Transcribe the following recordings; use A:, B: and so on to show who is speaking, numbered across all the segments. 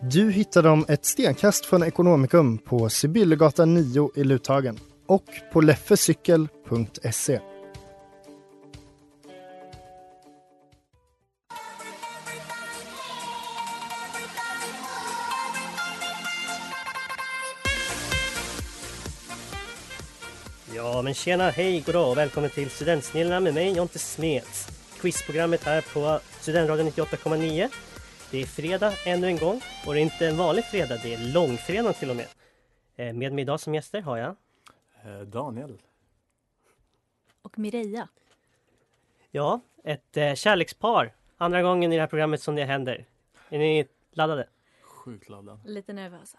A: Du hittar dem ett stenkast från Ekonomikum på Sibyllegatan 9 i Luthagen och på leffecykel.se.
B: Ja, men tjena, hej, goddag och välkommen till Studentsnillena med mig Jonte Smeds. Quizprogrammet här på Studentradion 98,9. Det är fredag ännu en gång och det är inte en vanlig fredag, det är långfredag till och med. Eh, Med mig idag som gäster har jag...
C: Daniel.
D: och Mireia.
B: Ja, ett eh, kärlekspar. Andra gången i det här programmet som det händer. Är ni laddade?
C: Sjukt laddad.
D: Lite nervösa.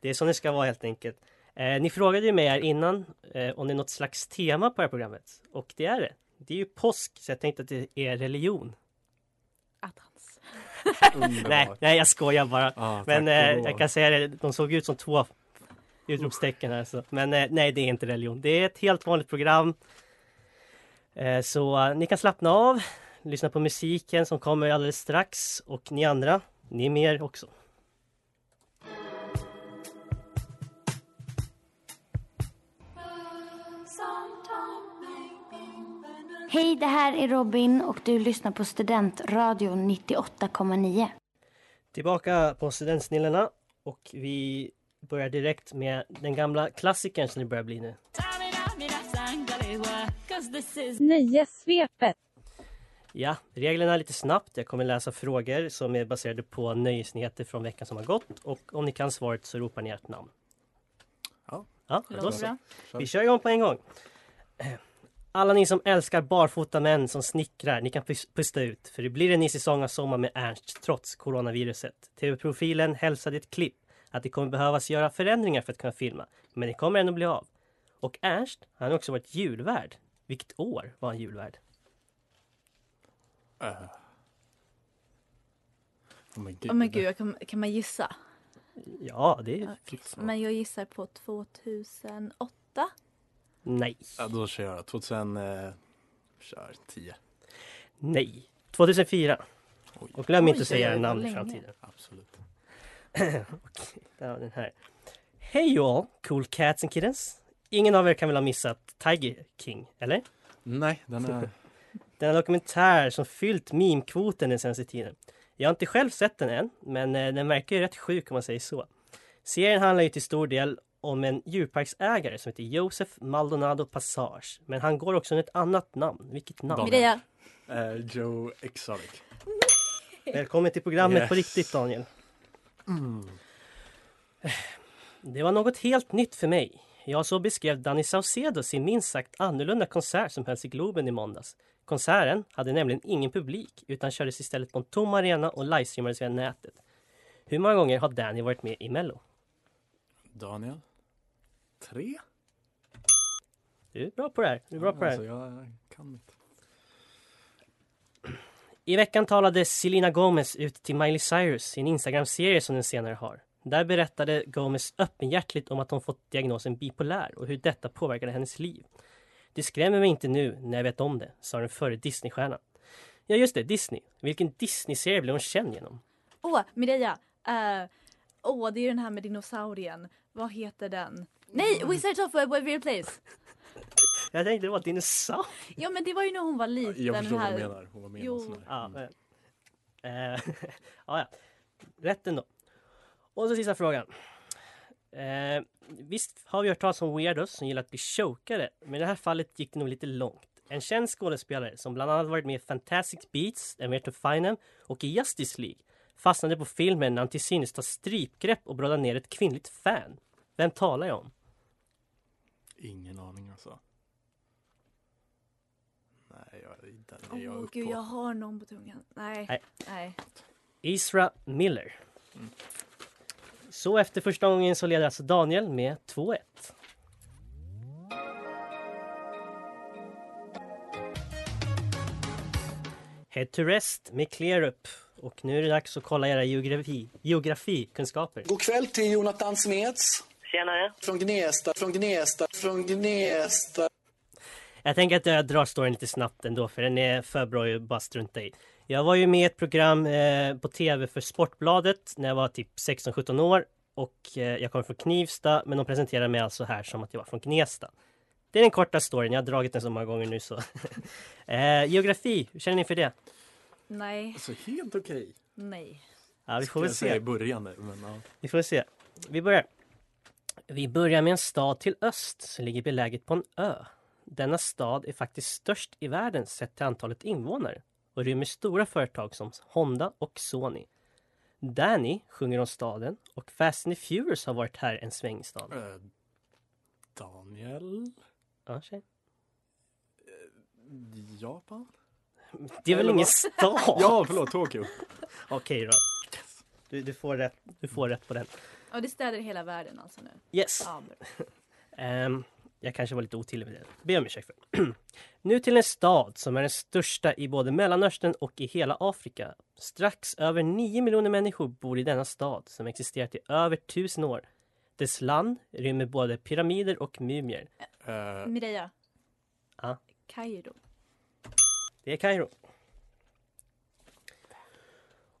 B: Det är så det ska vara helt enkelt. Eh, ni frågade ju mig här innan eh, om det är något slags tema på det här programmet. Och det är det. Det är ju påsk, så jag tänkte att det är religion.
D: Attans.
C: Underbart.
B: Nej, nej, jag skojar bara.
C: Ah, tack
B: Men
C: och
B: eh,
C: lov.
B: jag kan säga det, de såg ut som två utropstecken här. Så. Men eh, nej, det är inte religion. Det är ett helt vanligt program. Eh, så eh, ni kan slappna av, lyssna på musiken som kommer alldeles strax. Och ni andra, ni är med er också.
E: Hej, det här är Robin och du lyssnar på Studentradion 98,9.
B: Tillbaka på Studentsnillena och vi börjar direkt med den gamla klassikern som det börjar bli nu.
F: Nöjessvepet.
B: Ja, reglerna är lite snabbt. Jag kommer läsa frågor som är baserade på nöjesnyheter från veckan som har gått och om ni kan svaret så ropar ni ert namn.
C: Ja.
B: ja
D: Låter
B: då så.
D: bra.
B: Vi kör igång på en gång. Alla ni som älskar barfota män som snickrar, ni kan pus- pusta ut. För det blir en ny säsong av Sommar med Ernst trots coronaviruset. TV-profilen hälsade i ett klipp att det kommer behövas göra förändringar för att kunna filma. Men det kommer ändå bli av. Och Ernst, han har också varit julvärd. Vilket år var han julvärd?
C: Eh. Oh men gud.
D: Åh men gud, jag kan, kan man gissa?
B: Ja, det är...
C: Fixa.
D: Men jag gissar på 2008.
B: Nej.
C: Ja, då kör jag 2000... Eh, kör 10.
B: Nej. 2004.
C: Oj.
B: Och glöm inte
D: Oj,
B: att säga
D: det
B: era
D: var
B: namn i
D: länge.
B: framtiden.
C: Absolut.
B: Ja, den här. Hej you all, cool cats and kittens. Ingen av er kan väl ha missat Tiger King, eller?
C: Nej, den är...
B: Denna dokumentär som fyllt meme-kvoten den senaste tiden. Jag har inte själv sett den än, men eh, den verkar ju rätt sjuk om man säger så. Serien handlar ju till stor del om en djurparksägare som heter Josef Maldonado Passage. Men han går också under ett annat namn. Vilket namn?
C: Daniel.
D: Mireia,
C: Eh, Joe Exotic.
B: Välkommen till programmet på
C: Yes.
B: riktigt Daniel.
C: Mm.
B: Det var något helt nytt för mig. Jag så beskrev Danny Saucedo sin minst sagt annorlunda konsert som hölls i Globen i måndags. Konserten hade nämligen ingen publik utan kördes istället på en tom arena och livestreamades via nätet. Hur många gånger har Danny varit med i Mello?
C: Daniel. Tre?
B: Du är bra på det här. Du är bra på det här.
C: Alltså, jag kan mitt.
B: I veckan talade Selena Gomez ut till Miley Cyrus i en Instagram-serie som den senare har. Där berättade Gomez öppenhjärtligt om att hon fått diagnosen bipolär och hur detta påverkade hennes liv. Det skrämmer mig inte nu när jag vet om det, sa den före Disney-stjärnan. Ja just det, Disney. Vilken Disney-serie blev hon känd genom?
D: åh Mireia! eh, Åh, det är den här med dinosaurien. Vad heter den?
C: Mm.
D: Nej, Wizards of Waverly Place!
B: Jag tänkte det var dinosaur.
D: Ja men det var ju när hon var liten.
C: Jag
D: den
C: förstår vad
D: här...
C: du menar. Hon var med i
D: Jo.
C: någon sån här.
B: Ja,
C: Mm.
B: men- eh, ja, ja. Rätt ändå. Och så sista frågan. Eh, visst har vi hört talas om weirdos som gillar att bli chokade, men i det här fallet gick det nog lite långt. En känd skådespelare som bland annat varit med i Fantastic Beasts, A Way to Find Them och i Justice League fastnade på filmen när han till synes tar strypgrepp och brödar ner ett kvinnligt fan. Vem talar jag om?
C: Ingen aning alltså. Nej, jag, den är jag
D: Åh
C: upp
D: gud,
C: på.
D: jag har någon på tungan. Nej.
B: Nej.
D: Nej.
B: Isra Miller. Så efter första gången så leder alltså Daniel med 2-1. Head to rest med clear up. Och nu är det dags att kolla era geografi, geografikunskaper.
G: God kväll till Jonathan Smeds
F: Tjenare.
G: från Gnesta, från Gnesta, från Gnesta.
B: Jag tänker att jag drar storyn lite snabbt ändå för den är för bra att bara strunta i. Jag var ju med i ett program eh, på tv för Sportbladet när jag var typ 16-17 år och eh, jag kommer från Knivsta men de presenterade mig alltså här som att jag var från Gnesta. Det är den korta storyn, jag har dragit den så många gånger nu så. eh, geografi, hur känner ni för det?
D: Nej.
C: Alltså helt okej.
D: Nej.
B: Ja, vi får
C: Skulle
B: väl
C: jag säga
B: se.
C: i början där, men ja.
B: Vi får se. Vi börjar. Vi börjar med en stad till öst som ligger beläget på en ö. Denna stad är faktiskt störst i världen sett till antalet invånare och rymmer stora företag som Honda och Sony. Danny sjunger om staden och Fast and the Furious har varit här en sväng i staden.
C: Eh, Daniel?
B: Ja, tjej.
C: Japan?
B: det är väl
C: Eller
B: ingen
C: vad?
B: stad?
C: Ja, förlåt, Tokyo.
B: Okej då. Du, du, får rätt, du får rätt på den.
D: Ja, det är städer i hela världen alltså nu.
B: Yes.
D: Ja, bra.
B: Ehm, jag kanske var lite otydlig med det. Be om ursäkt för. nu till en stad som är den största i både Mellanöstern och i hela Afrika. Strax över 9 miljoner människor bor i denna stad som existerat i över 1000 år. Dess land rymmer både pyramider och mumier.
C: Eh,
D: Mireia.
B: Ja.
D: Kairo.
B: Det är Kairo.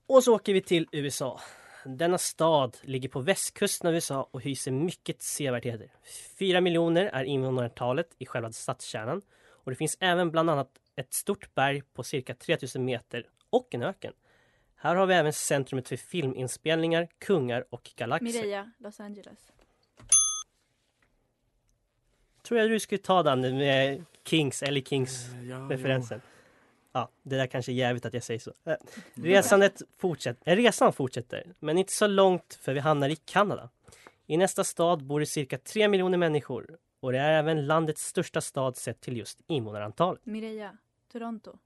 B: Och så åker vi till USA. Denna stad ligger på västkusten av USA och hyser mycket sevärdheter. Fyra miljoner är invånarantalet i själva stadskärnan och det finns även bland annat ett stort berg på cirka 3000 meter och en öken. Här har vi även centrumet för filminspelningar, kungar och galaxer.
D: Mireia, Los Angeles.
B: Tror jag du skulle ta den med Kings, eller Kings
C: eh, ja,
B: referensen. Ja, det där kanske är jävligt att jag säger så. Eh, Resandet fortsätter, resan fortsätter, men inte så långt för vi hamnar i Kanada. I nästa stad bor det cirka 3 miljoner människor och det är även landets största stad sett till just invånarantalet.
D: Mireia. Toronto.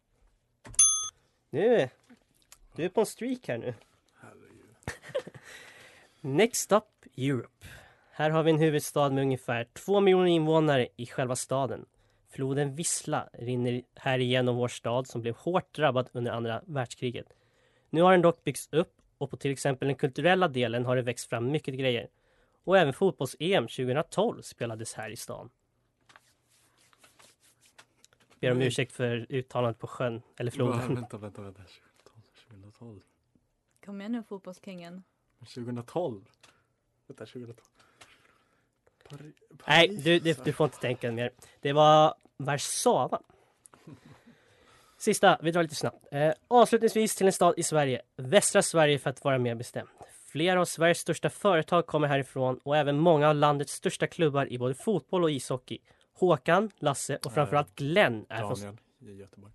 B: Nu, du är på en streak här nu. Next up, Europe. Här har vi en huvudstad med ungefär 2 miljoner invånare i själva staden. Floden Wisla rinner här igenom vår stad som blev hårt drabbad under andra världskriget. Nu har den dock byggts upp och på till exempel den kulturella delen har det växt fram mycket grejer. Och även fotbolls-EM 2012 spelades här i stan. Ber om
C: Nej.
B: ursäkt för uttalandet på sjön, eller
C: jo. Va,
B: floden.
C: Vänta, vänta, vänta. 2012?
D: Kom igen nu fotbollskingen.
C: 2012? Vänta, 2012? Pari-
B: Nej,
C: Paris,
B: du, du,
C: alltså.
B: du får inte tänka mer. Det var Warszawa. Sista, vi drar lite snabbt. Eh, avslutningsvis till en stad i Sverige. Västra Sverige för att vara mer bestämd. Flera av Sveriges största företag kommer härifrån och även många av landets största klubbar i både fotboll och ishockey. Håkan, Lasse och framförallt Glenn är från
C: Äh, Daniel i Göteborg.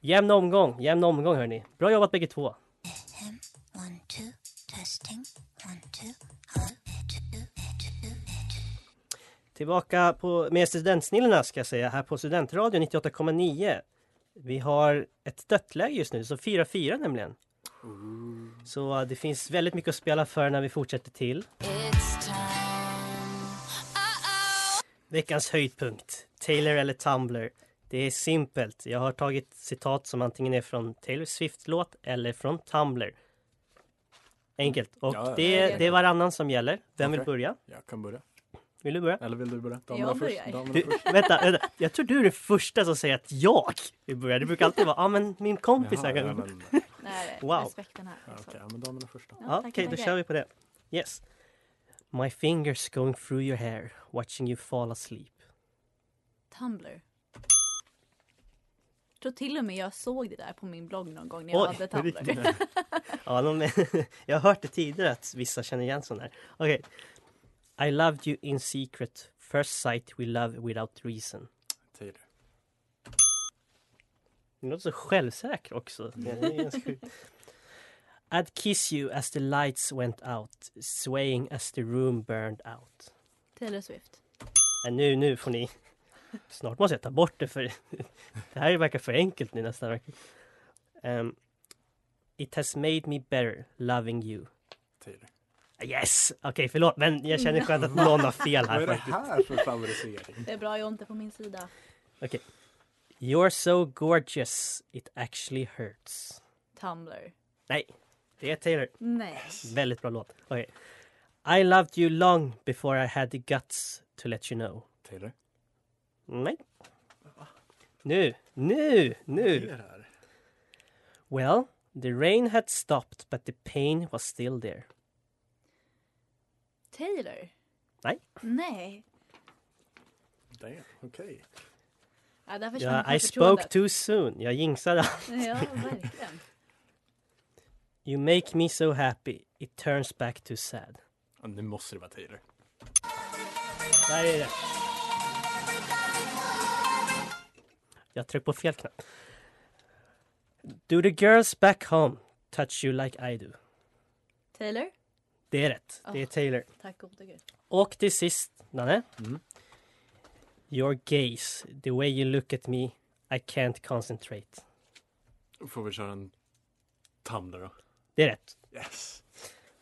B: Jämn omgång, jämn omgång hörni. Bra jobbat bägge två. Tillbaka på, med studentsnillena ska jag säga här på Studentradion 98,9. Vi har ett dött läge just nu, så 4-4 nämligen. Så eh, det finns väldigt mycket att spela för när vi fortsätter till Veckans höjdpunkt. Taylor eller Tumblr. Det är simpelt. Jag har tagit citat som antingen är från Taylor Swift-låt eller från Tumblr. Enkelt. Och
C: Ja, ja.
B: det, är, det är varannan som gäller. Vem vill
C: Okej.
B: börja?
C: Jag kan börja.
B: Vill du börja?
C: Eller vill du börja?
D: Jag
C: först.
D: börjar.
C: Damerna
B: Du,
C: först.
B: vänta, vänta, jag tror du är den första som säger att jag vill börja. Det brukar alltid vara, ja ah, men min kompis
C: Jaha,
B: här.
C: ja,
B: Ja,
C: men-
D: Nej,
B: Wow.
D: respekten här.
C: ja,
D: Alltså.
C: Okej, ja, men damerna först då.
D: Ja,
B: Okej, då kör vi på det. Yes. My fingers going through your hair, watching you fall asleep.
D: Tumblr. tror till och med jag såg det där på min blogg någon gång när jag hade
B: på
D: tavlor.
B: riktigt. ja, de, jag har hört det tidigare att vissa känner igen sån här. Okej. I loved you in secret, first sight we love without reason.
C: Taylor.
B: Du låter så självsäker också. Det är ganska sjukt. I'd kiss you as the lights went out, swaying as the room burned out.
D: Taylor Swift.
B: Men nu, nu får ni... Snart måste jag ta bort det för det här verkar för enkelt nu nästan. Um, It has made me better loving you.
C: Taylor.
B: Yes! Okej, förlåt, men jag känner skönt att någon har fel
C: Vad
B: här
C: är det
B: faktiskt.
C: här för favorisering?
D: Det är bra jag inte är på min sida.
B: You're so gorgeous, it actually hurts.
D: Tumblr.
B: Nej, det är Taylor.
D: Nej.
B: Väldigt bra låt. Okej. I loved you long before I had the guts to let you know.
C: Taylor.
B: Nej. Nu, nu,
C: Vad är
B: nu!
C: det här?
B: Well, the rain had stopped but the pain was still there.
D: Taylor?
B: Nej.
D: Nej.
C: Damn, okej.
D: Ja, där försvann
B: Ja, I
D: självförtroendet.
B: spoke too soon. Jag jinxade.
D: Ja, verkligen.
B: You make me so happy, it turns back to sad.
C: Ja, Nu måste det vara Taylor.
B: Där är det. Jag tryckte på fel knapp. Do the girls back home touch you like I do?
D: Taylor?
B: Det är rätt. Det är
D: Ah.
B: Taylor.
D: Tack gode gud.
B: Och till sist, Nanne.
C: Mm.
B: Your gaze, the way you look at me, I can't concentrate.
C: Får vi köra en Tumblr då?
B: Det är rätt.
C: Yes.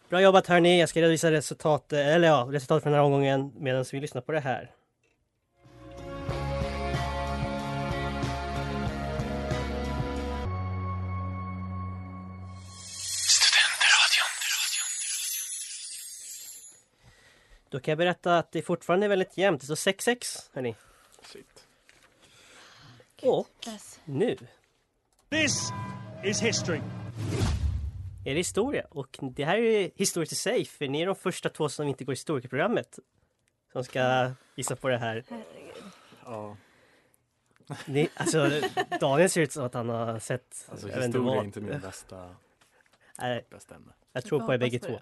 B: Bra jobbat hörni. Jag ska redovisa resultat, eh, eller ja, resultat från den här omgången medan vi lyssnar på det här. Då kan jag berätta att det fortfarande är väldigt jämnt. Det står 6-6 hörni.
C: Shit.
B: Och
D: Yes.
B: nu
F: This is history.
B: är det historia. Och det här är historiskt i sig, för ni är de första två som inte går historikerprogrammet som ska gissa på det här.
C: Ja,
B: Ni, alltså, Daniel ser ut som att han har sett...
C: alltså
B: jag vet inte
C: historia är
B: vad.
C: inte min bästa,
B: Nej,
C: bästa ämne.
B: jag tror på er bägge två.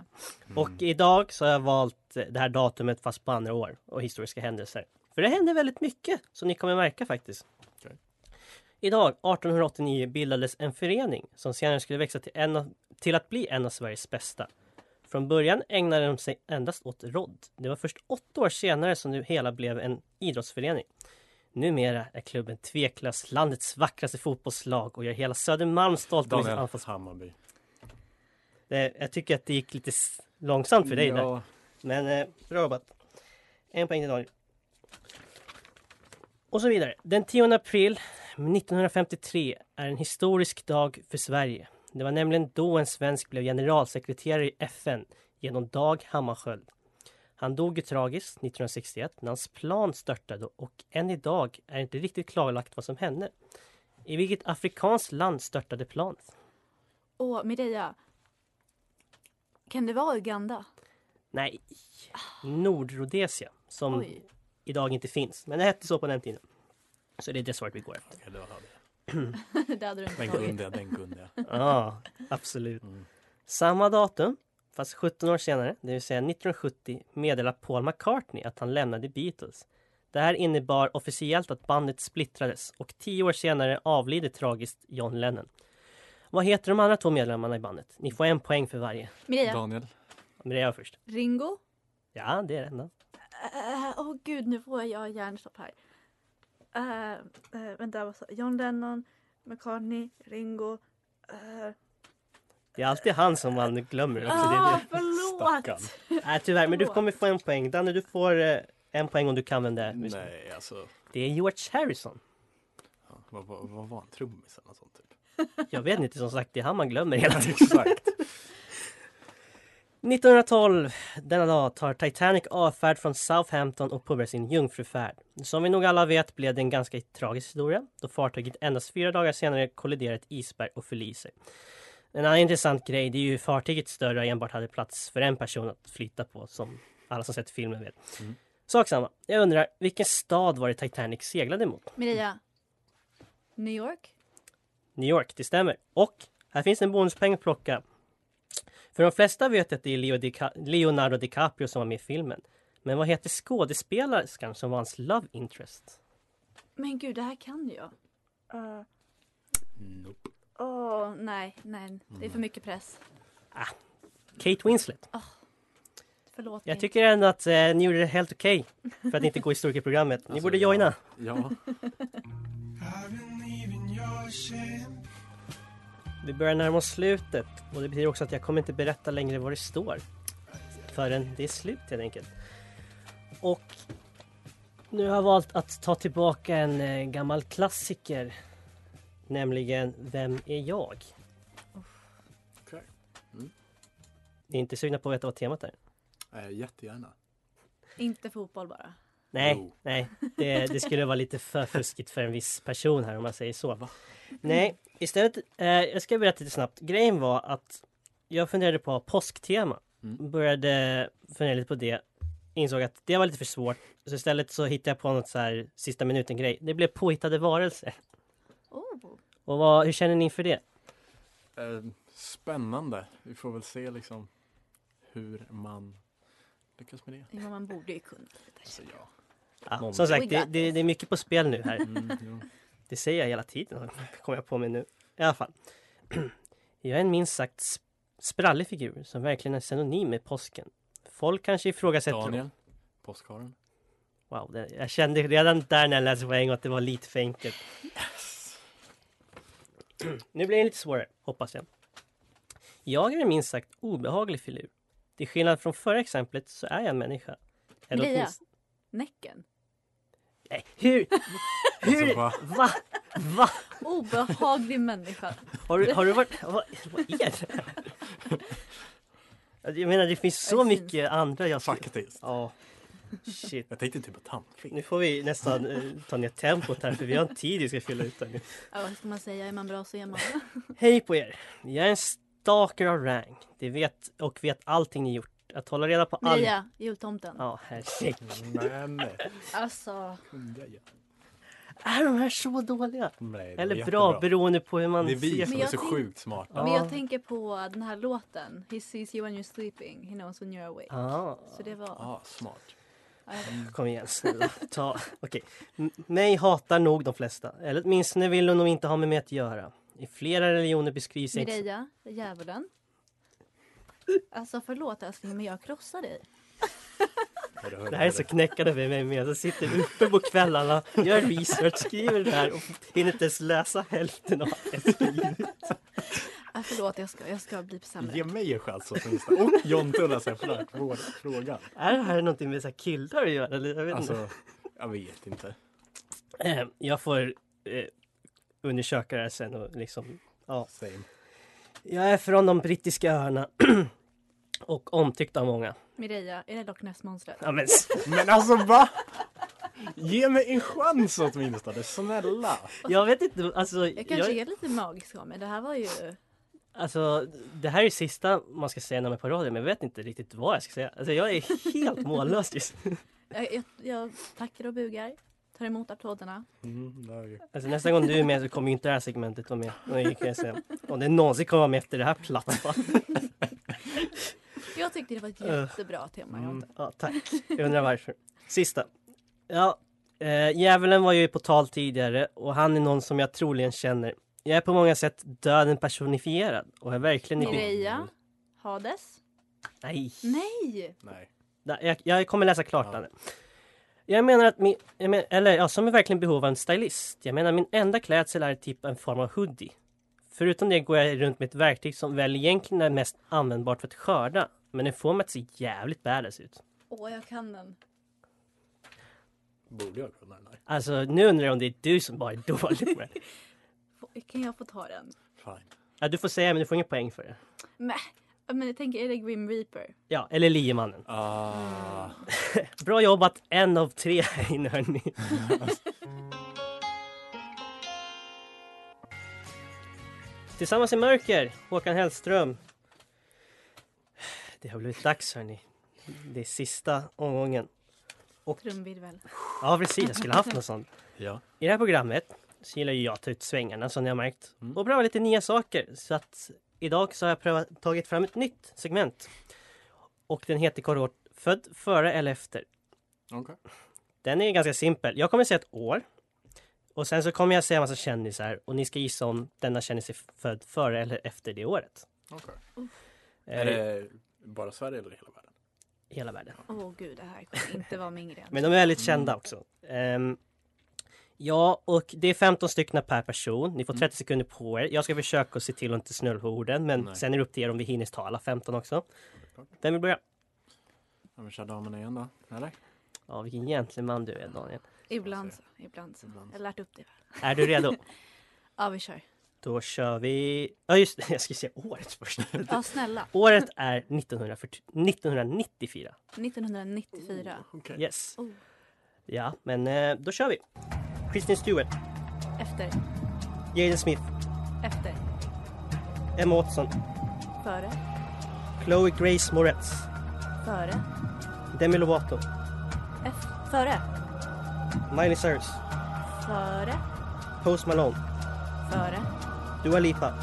B: Och
C: Mm.
B: idag så har jag valt eh, det här datumet fast på andra år och historiska händelser. För det händer väldigt mycket som ni kommer märka faktiskt.
C: Okej.
B: Idag, 1889, bildades en förening som senare skulle växa till, en av, till att bli en av Sveriges bästa. Från början ägnade de sig endast åt rodd. Det var först åtta år senare som det hela blev en idrottsförening. Numera är klubben tveklöst landets vackraste fotbollslag och gör hela Södermalm stolt med sitt
C: Daniel
B: anfallsspel.
C: Hammarby.
B: Det- Jag tycker att det gick lite s- långsamt för dig där. Men eh, bra jobbat. En poäng till Daniel. Och så vidare. Den 10 april 1953 är en historisk dag för Sverige. Det var nämligen då en svensk blev generalsekreterare i FN genom Dag Hammarskjöld. Han dog ju tragiskt 1961 när hans plan störtade och än idag är inte riktigt klarlagt vad som hände. I vilket afrikanskt land störtade planet?
D: Åh, Mireia. Kan det vara Uganda?
B: Nej, Nordrhodesia som
D: Oj.
B: idag inte finns. Men det hette så på den tiden. Så det är det svaret vi går efter.
C: Ja, det var det.
D: det hade du inte
C: Den
D: tagit.
C: kunde jag, den kunde jag.
B: Ja, absolut.
C: Ah. Mm.
B: Samma datum, fast 17 år senare, det vill säga 1970, meddelar Paul McCartney att han lämnade Beatles. Det här innebar officiellt att bandet splittrades och tio år senare avlider tragiskt John Lennon. Vad heter de andra två medlemmarna i bandet? Ni får en poäng för varje.
D: Mireia.
C: Daniel.
B: Men det är jag först.
D: Ringo?
B: Ja, det är det enda.
D: Eh, Åh gud, nu får jag hjärnstopp här. Uh, uh, vänta, vad sa John Lennon, McCartney, Ringo. eh,
B: Det är alltid han som man glömmer. Också. Det är
D: Ah,
B: det.
D: förlåt!
B: Nej, tyvärr, men du kommer få en poäng. Danne, du får eh, en poäng om du kan vem det är.
C: Nej, alltså.
B: Det är George Harrison.
C: Ja, vad, vad, vad var han? Trummis eller något sånt typ?
B: Jag vet inte, som sagt, det är han man glömmer hela tiden.
C: Exakt.
B: 1912, denna dag, tar Titanic avfärd från Southampton och påbörjar sin jungfrufärd. Som vi nog alla vet blev det en ganska tragisk historia då fartyget endast fyra dagar senare kolliderar ett isberg och förliser. En annan intressant grej det är ju hur fartyget större och enbart hade plats för en person att flyta på som alla som sett filmen vet. Sak samma. Jag undrar, vilken stad var det Titanic seglade mot?
D: Mireia. New York?
B: New York, det stämmer. Och här finns en bonuspeng att plocka. För de flesta vet att det är Leo Dica- Leonardo DiCaprio som var med i filmen. Men vad heter skådespelerskan som var hans love interest?
D: Men gud, det här kan jag. Eh,
C: Nope.
D: Åh, nej, nej. Det
B: Mm.
D: är för mycket press.
B: Kate Winslet.
D: Förlåt
B: Jag
D: mig.
B: tycker ändå att eh, ni gjorde det helt okej för att inte gå i historikerprogrammet. Ni borde joina.
C: Alltså, Ja.
B: Vi börjar närma oss slutet och det betyder också att jag kommer inte berätta längre vad det står förrän det är slut helt enkelt. Och nu har jag valt att ta tillbaka en eh, gammal klassiker, nämligen Vem är jag?
C: Okej. Mm.
B: Ni är inte sugna på att veta vad temat är?
C: Eh, jättegärna.
D: Inte fotboll bara.
B: Nej,
C: Jo.
B: nej. Det, det skulle vara lite för fuskigt för en viss person här om man säger så. Nej, istället, eh, jag ska berätta lite snabbt. Grejen var att jag funderade på påsktema.
C: Mm.
B: Började fundera lite på det. Insåg att det var lite för svårt. Så istället så hittade jag på något så här sista minuten grej. Det blev påhittade varelser.
D: Oh.
B: Och vad, hur känner ni inför det?
C: Eh, spännande. Vi får väl se liksom hur man lyckas med det.
D: Ja, man borde ju kunna lite.
C: Alltså ja.
B: Ja,
C: Någon-
B: som sagt,
D: We
B: det,
D: got
B: det, det är mycket på spel nu här.
C: Mm, jo.
B: Det säger jag hela tiden, kommer jag på mig nu. I alla fall. Jag är en minst sagt sp- sprallig figur som verkligen är synonym med påsken. Folk kanske ifrågasätter...
C: Daniel. Påskharen.
B: Wow, det, jag kände redan där när jag läste på en gång att det var lite för enkelt. nu blir det lite svårare, hoppas jag. Jag är en minst sagt obehaglig filur. Till skillnad från förra exemplet så är jag en människa. Eller
D: Lia.
B: åtminstone-
D: Näcken.
B: Nej, hur?
C: Alltså,
B: hur?
C: va?
B: Va? Va?
D: Obehaglig människa.
B: Har du, har du varit... Vad, vad är det? Jag menar det finns så
D: Jag är
B: mycket andra jag skulle-
C: Faktiskt.
B: Ja. Shit.
C: Jag tänkte typ på tandkräm.
B: Nu får vi nästan eh, ta ner tempot här för vi har en tid vi ska fylla ut här nu.
D: Ja, vad ska man säga? Är man bra så är man bra.
B: Hej på er! Jag är en stalker av rang. Det vet och vet allting ni gjort. Att hålla reda på all...
D: Mia, jultomten.
B: Ja, herregud.
C: Men,
D: Alltså,
C: kunde jag
B: Är de här så dåliga?
C: Nej, det
B: Eller
C: var
B: bra
C: jättebra.
B: beroende på hur man
C: Det är vi
B: ser
C: som
D: Men
C: är
D: jag
C: så
D: tänk-
C: sjukt smarta.
B: Ja.
D: men jag tänker på den här låten. He sees you when you're sleeping, he knows when you're awake.
B: Ah.
D: Så det var... eh,
C: Ah, smart.
D: Ja, jag-
B: Kom igen snälla. Ta. Okej. M- Mig hatar nog de flesta. Eller åtminstone vill de nog inte ha med mig att göra. I flera religioner beskrivs jag inte...
D: Mireia, djävulen. Alltså förlåt älskling men jag krossar dig.
C: Hörru, hörru,
B: Det här är så
C: hörru.
B: knäckande för mig med. Jag sitter uppe på kvällarna, gör research, skriver det här och hinner inte ens läsa hälften av det.
D: Ah, förlåt jag ska, jag ska bli sämre.
C: Ge mig en chans åtminstone. Och Jonte undrar sig flört. Vår- Frågan.
B: Är det här någonting med så här killar att göra? Eller, jag, vet inte.
C: Alltså, jag vet inte.
B: Eh, jag får eh, undersöka det här sen och liksom... Ja.
C: Same.
B: Jag är från de brittiska öarna och omtyckt av många.
D: Mireia, är det Loch-Ness-monstret?
B: Ja, men, s-
C: Men alltså va? Ge mig en chans åtminstone, snälla!
B: jag vet inte, alltså...
D: Jag kanske är lite magisk av mig. Det här var ju...
B: Alltså, det här är det sista man ska säga när man är på radio, men jag vet inte riktigt vad jag ska säga. Alltså, jag är helt mållös just nu.
D: Jag, jag, jag tackar och bugar. Tar emot applåderna.
C: Mm, det är ju-
B: alltså, Nästa gång du är med så kommer ju inte det här segmentet vara med. Det kan jag säga. Om det någonsin kommer vara med efter det här platta.
D: Jag tyckte det var ett
B: Eh.
D: jättebra tema. Jonte.
B: Ja, tack. Jag undrar varför. Sista. Ja, eh, djävulen var ju på tal tidigare och han är någon som jag troligen känner. Jag är på många sätt döden personifierad och är verkligen i byn.
D: Mireia, Hades.
B: Nej.
D: Nej!
C: Nej.
B: Nej, Jag, jag kommer läsa klart ja. Jag menar att min, jag men, eller ja, som är verkligen behov av en stylist. Jag menar min enda klädsel är typ en form av hoodie. Förutom det går jag runt med ett verktyg som väl egentligen är mest användbart för att skörda. Men det får mig att se jävligt badass ut.
D: Åh, jag kan den.
C: Borde jag kunna den här?
B: Alltså nu undrar jag om det är du som bara är dålig på det.
D: Få- Kan jag få ta den?
C: Fine.
B: Ja, du får säga men du får ingen poäng för det.
D: Mäh. Ja, Men jag tänker, är det Grim Reaper?
B: Ja, eller liemannen.
C: Ah,
B: Bra jobbat, en av tre här inne hörni. Tillsammans i mörker, Håkan Hellström. Det har blivit dags hörni. Det är sista omgången.
D: Trumvirvel.
B: Ja precis, jag skulle haft något sånt.
C: ja.
B: I det här programmet så gillar ju jag att ta ut svängarna som ni har märkt. Och pröva lite nya saker. Så att idag så har jag prövat, tagit fram ett nytt segment. Och den heter kort och gott Född före eller efter.
C: Mm. Okej.
B: Den är ganska simpel. Jag kommer säga ett år. Och sen så kommer jag säga en massa kändisar och ni ska gissa om denna kändis är född före eller efter det året.
C: Okej.
B: Eh,
C: Är det bara Sverige eller hela världen?
B: i hela världen.
D: Åh gud, det här kommer inte vara min gren.
B: Men de är väldigt
C: Mm.
B: kända också. Ehm, ja, och det är 15 stycken per person. Ni får
C: Mm.
B: 30 sekunder på er. Jag ska försöka att se till att inte snurra på orden, men
C: Nej.
B: sen är det upp till er om vi hinner ta alla 15 också. Vem vill börja?
C: Ja men kör damerna igen då, eller?
B: Ja, vilken gentleman du är Daniel.
D: Ibland så. Ibland så. Jag har lärt upp det.
B: Är du redo?
D: Ja, vi kör.
B: Då kör vi... Ja just det, jag ska säga året först.
D: Ja, snälla.
B: Året är 1940 1994.
D: 1994.
B: Yes.
D: Oh.
B: Ja, men eh, då kör vi. Kristin Stewart,
D: Efter.
B: Jaden Smith,
D: Efter.
B: Emma Watson,
D: Före.
B: Chloe Grace Moretz,
D: Före.
B: Demi Lovato,
D: F- före.
B: Miley Cyrus,
D: Före.
B: Post Malone,
D: Före.
B: Dua Lipa,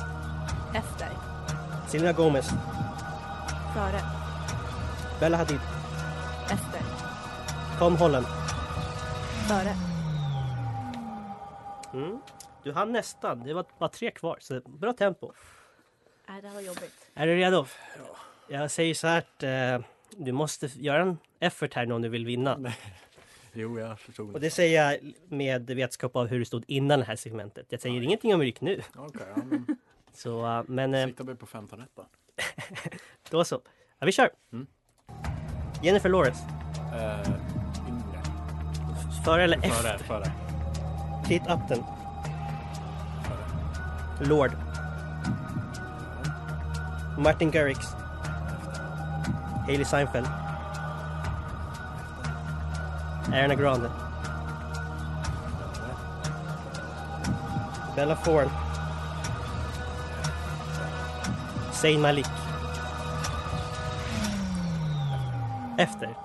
D: Efter.
B: Selena Gomez,
D: Före.
B: Bella Hadid,
D: Efter.
B: Tom Holland.
D: Före.
B: Mm. Du hann nästan, det var bara tre kvar, så bra tempo.
D: Nej, Äh, det här var jobbigt.
B: Är du redo? Jag säger så här, att, eh, du måste göra en effort här nu om du vill vinna.
C: Jo, jag förstod.
B: Och det säger jag med vetskap av hur det stod innan det här segmentet. Jag säger ingenting om hur det gick nu.
C: Okej, ja men
B: Så, eh, men eh,
C: sikta mig på 15 rätt då.
B: då så. Ja, vi kör! Jennifer Lawrence,
C: Eh, yngre.
B: före eller
C: Före,
B: efter?
C: före.
B: Kate Upton. Lord. Martin Garrix. Hailey Seinfeld. Ariana Grande. Bella Thorne. Zayn Malik. Efter.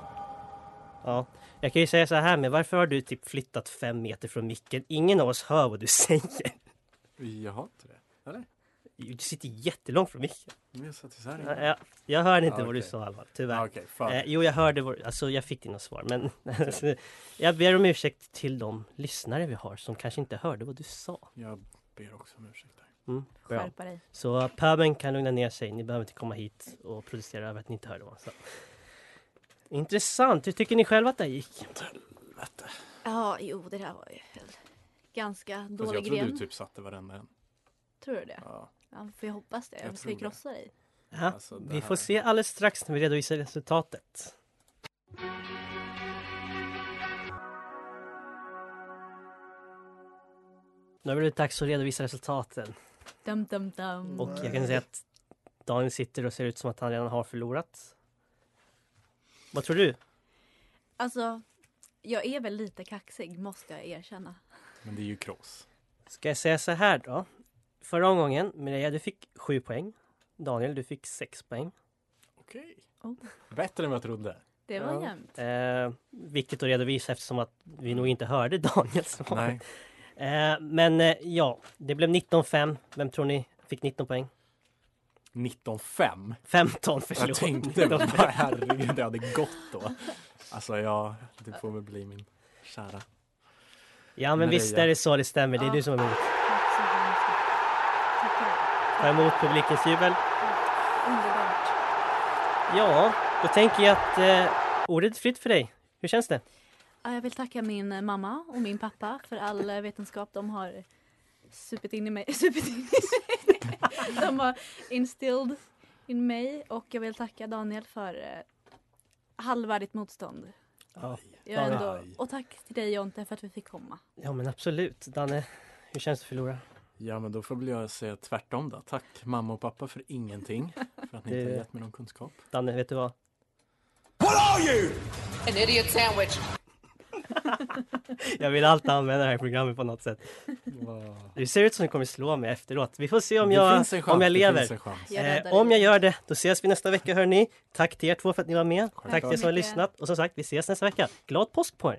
B: Ja, jag kan ju säga så här med varför har du typ flyttat fem meter från micken? Ingen av oss hör vad du säger.
C: Jag har inte det. Eller?
B: Du sitter jättelångt från micken.
C: Men jag satt isär
B: Ja,
C: det.
B: Jag, jag hörde inte
C: Ja,
B: vad du
C: okej.
B: sa Alvar,
C: Ah,
B: tyvärr.
C: Okej, före.
B: Eh, jo, jag hörde vad, alltså jag fick dina svar men alltså, jag ber om ursäkt till de lyssnare vi har som kanske inte hörde vad du sa.
C: Jag ber också om ursäkt. där.
B: Mm, bra.
D: Skärpa dig.
B: Så pöbeln kan lugna ner sig, ni behöver inte komma hit och protestera över att ni inte hörde vad han sa. Intressant, hur tycker ni själva att det här gick?
D: Ja, jo, det där var ju ganska
C: Fast jag
D: dålig
C: tror du
D: gren.
C: typ satte varenda en.
D: Tror du det?
C: Ja.
D: Ja, får jag hoppas det.
C: Jag
D: Jag ska ju
C: tror det.
D: krossa dig.
B: Ja,
C: Alltså, det
B: vi
C: här-
B: får se alldeles strax när vi redovisar resultatet. Nu har det blivit dags att redovisa resultaten
D: Dum, dum, dum.
B: och jag kan säga att Daniel sitter och ser ut som att han redan har förlorat. Vad tror du?
D: Alltså, jag är väl lite kaxig, måste jag erkänna.
C: Men det är ju kross.
B: Ska jag säga så här då? Förra omgången, Mireia du fick 7 poäng. Daniel du fick 6 poäng.
C: Okej.
D: Oh.
C: Bättre än vad jag trodde.
D: Det var
B: Ja.
D: jämnt.
B: Eh, viktigt att redovisa eftersom att vi nog inte hörde Daniels svar.
C: Nej.
B: Eh, men eh, ja, det blev 19-5. Vem tror ni fick 19 poäng?
C: 19,5.
B: 15 förlåt.
C: Jag tänkte bara herregud, det hade gått då. Alltså jag, det får väl bli min kära.
B: Ja men
C: Maria.
B: visst är det så det stämmer. Det är
D: Ja.
B: du som har vunnit.
D: Tack så hemskt mycket. Tackar.
B: Ta emot publikens jubel.
D: Underbart.
B: Ja, då tänker jag att eh, ordet är fritt för dig. Hur känns det?
D: Ja, Jag vill tacka min mamma och min pappa för all eh, vetenskap de har supit in i mig. Supit in i mig. De har instilled in mig. Och jag vill tacka Daniel för eh, halvvärdigt motstånd.
B: Ja.
D: Jag är
B: Ja,
D: ändå,
C: aj.
D: och tack till dig Jonte för att vi fick komma.
B: ja men absolut. Danne, hur känns det att förlora?
C: Ja men då får väl jag säga tvärtom då. Tack mamma och pappa för ingenting. För att ni inte
B: Det-
C: har gett mig någon kunskap.
B: Danne, vet du vad?
H: An idiot sandwich.
B: Jag vill alltid använda det här programmet på något sätt. Du ser ut som du kommer slå mig efteråt. Vi får se om
C: det
B: jag,
C: finns en chans.
B: om jag
C: Det
B: lever.
C: finns en chans.
D: Jag räddar
B: Eh,
D: dig.
B: om jag gör det, då ses vi nästa vecka hörni. Tack till er två för att ni var med. Tack till er som har
D: mycket.
B: lyssnat. Och som sagt, vi ses nästa vecka. Glad påsk på er!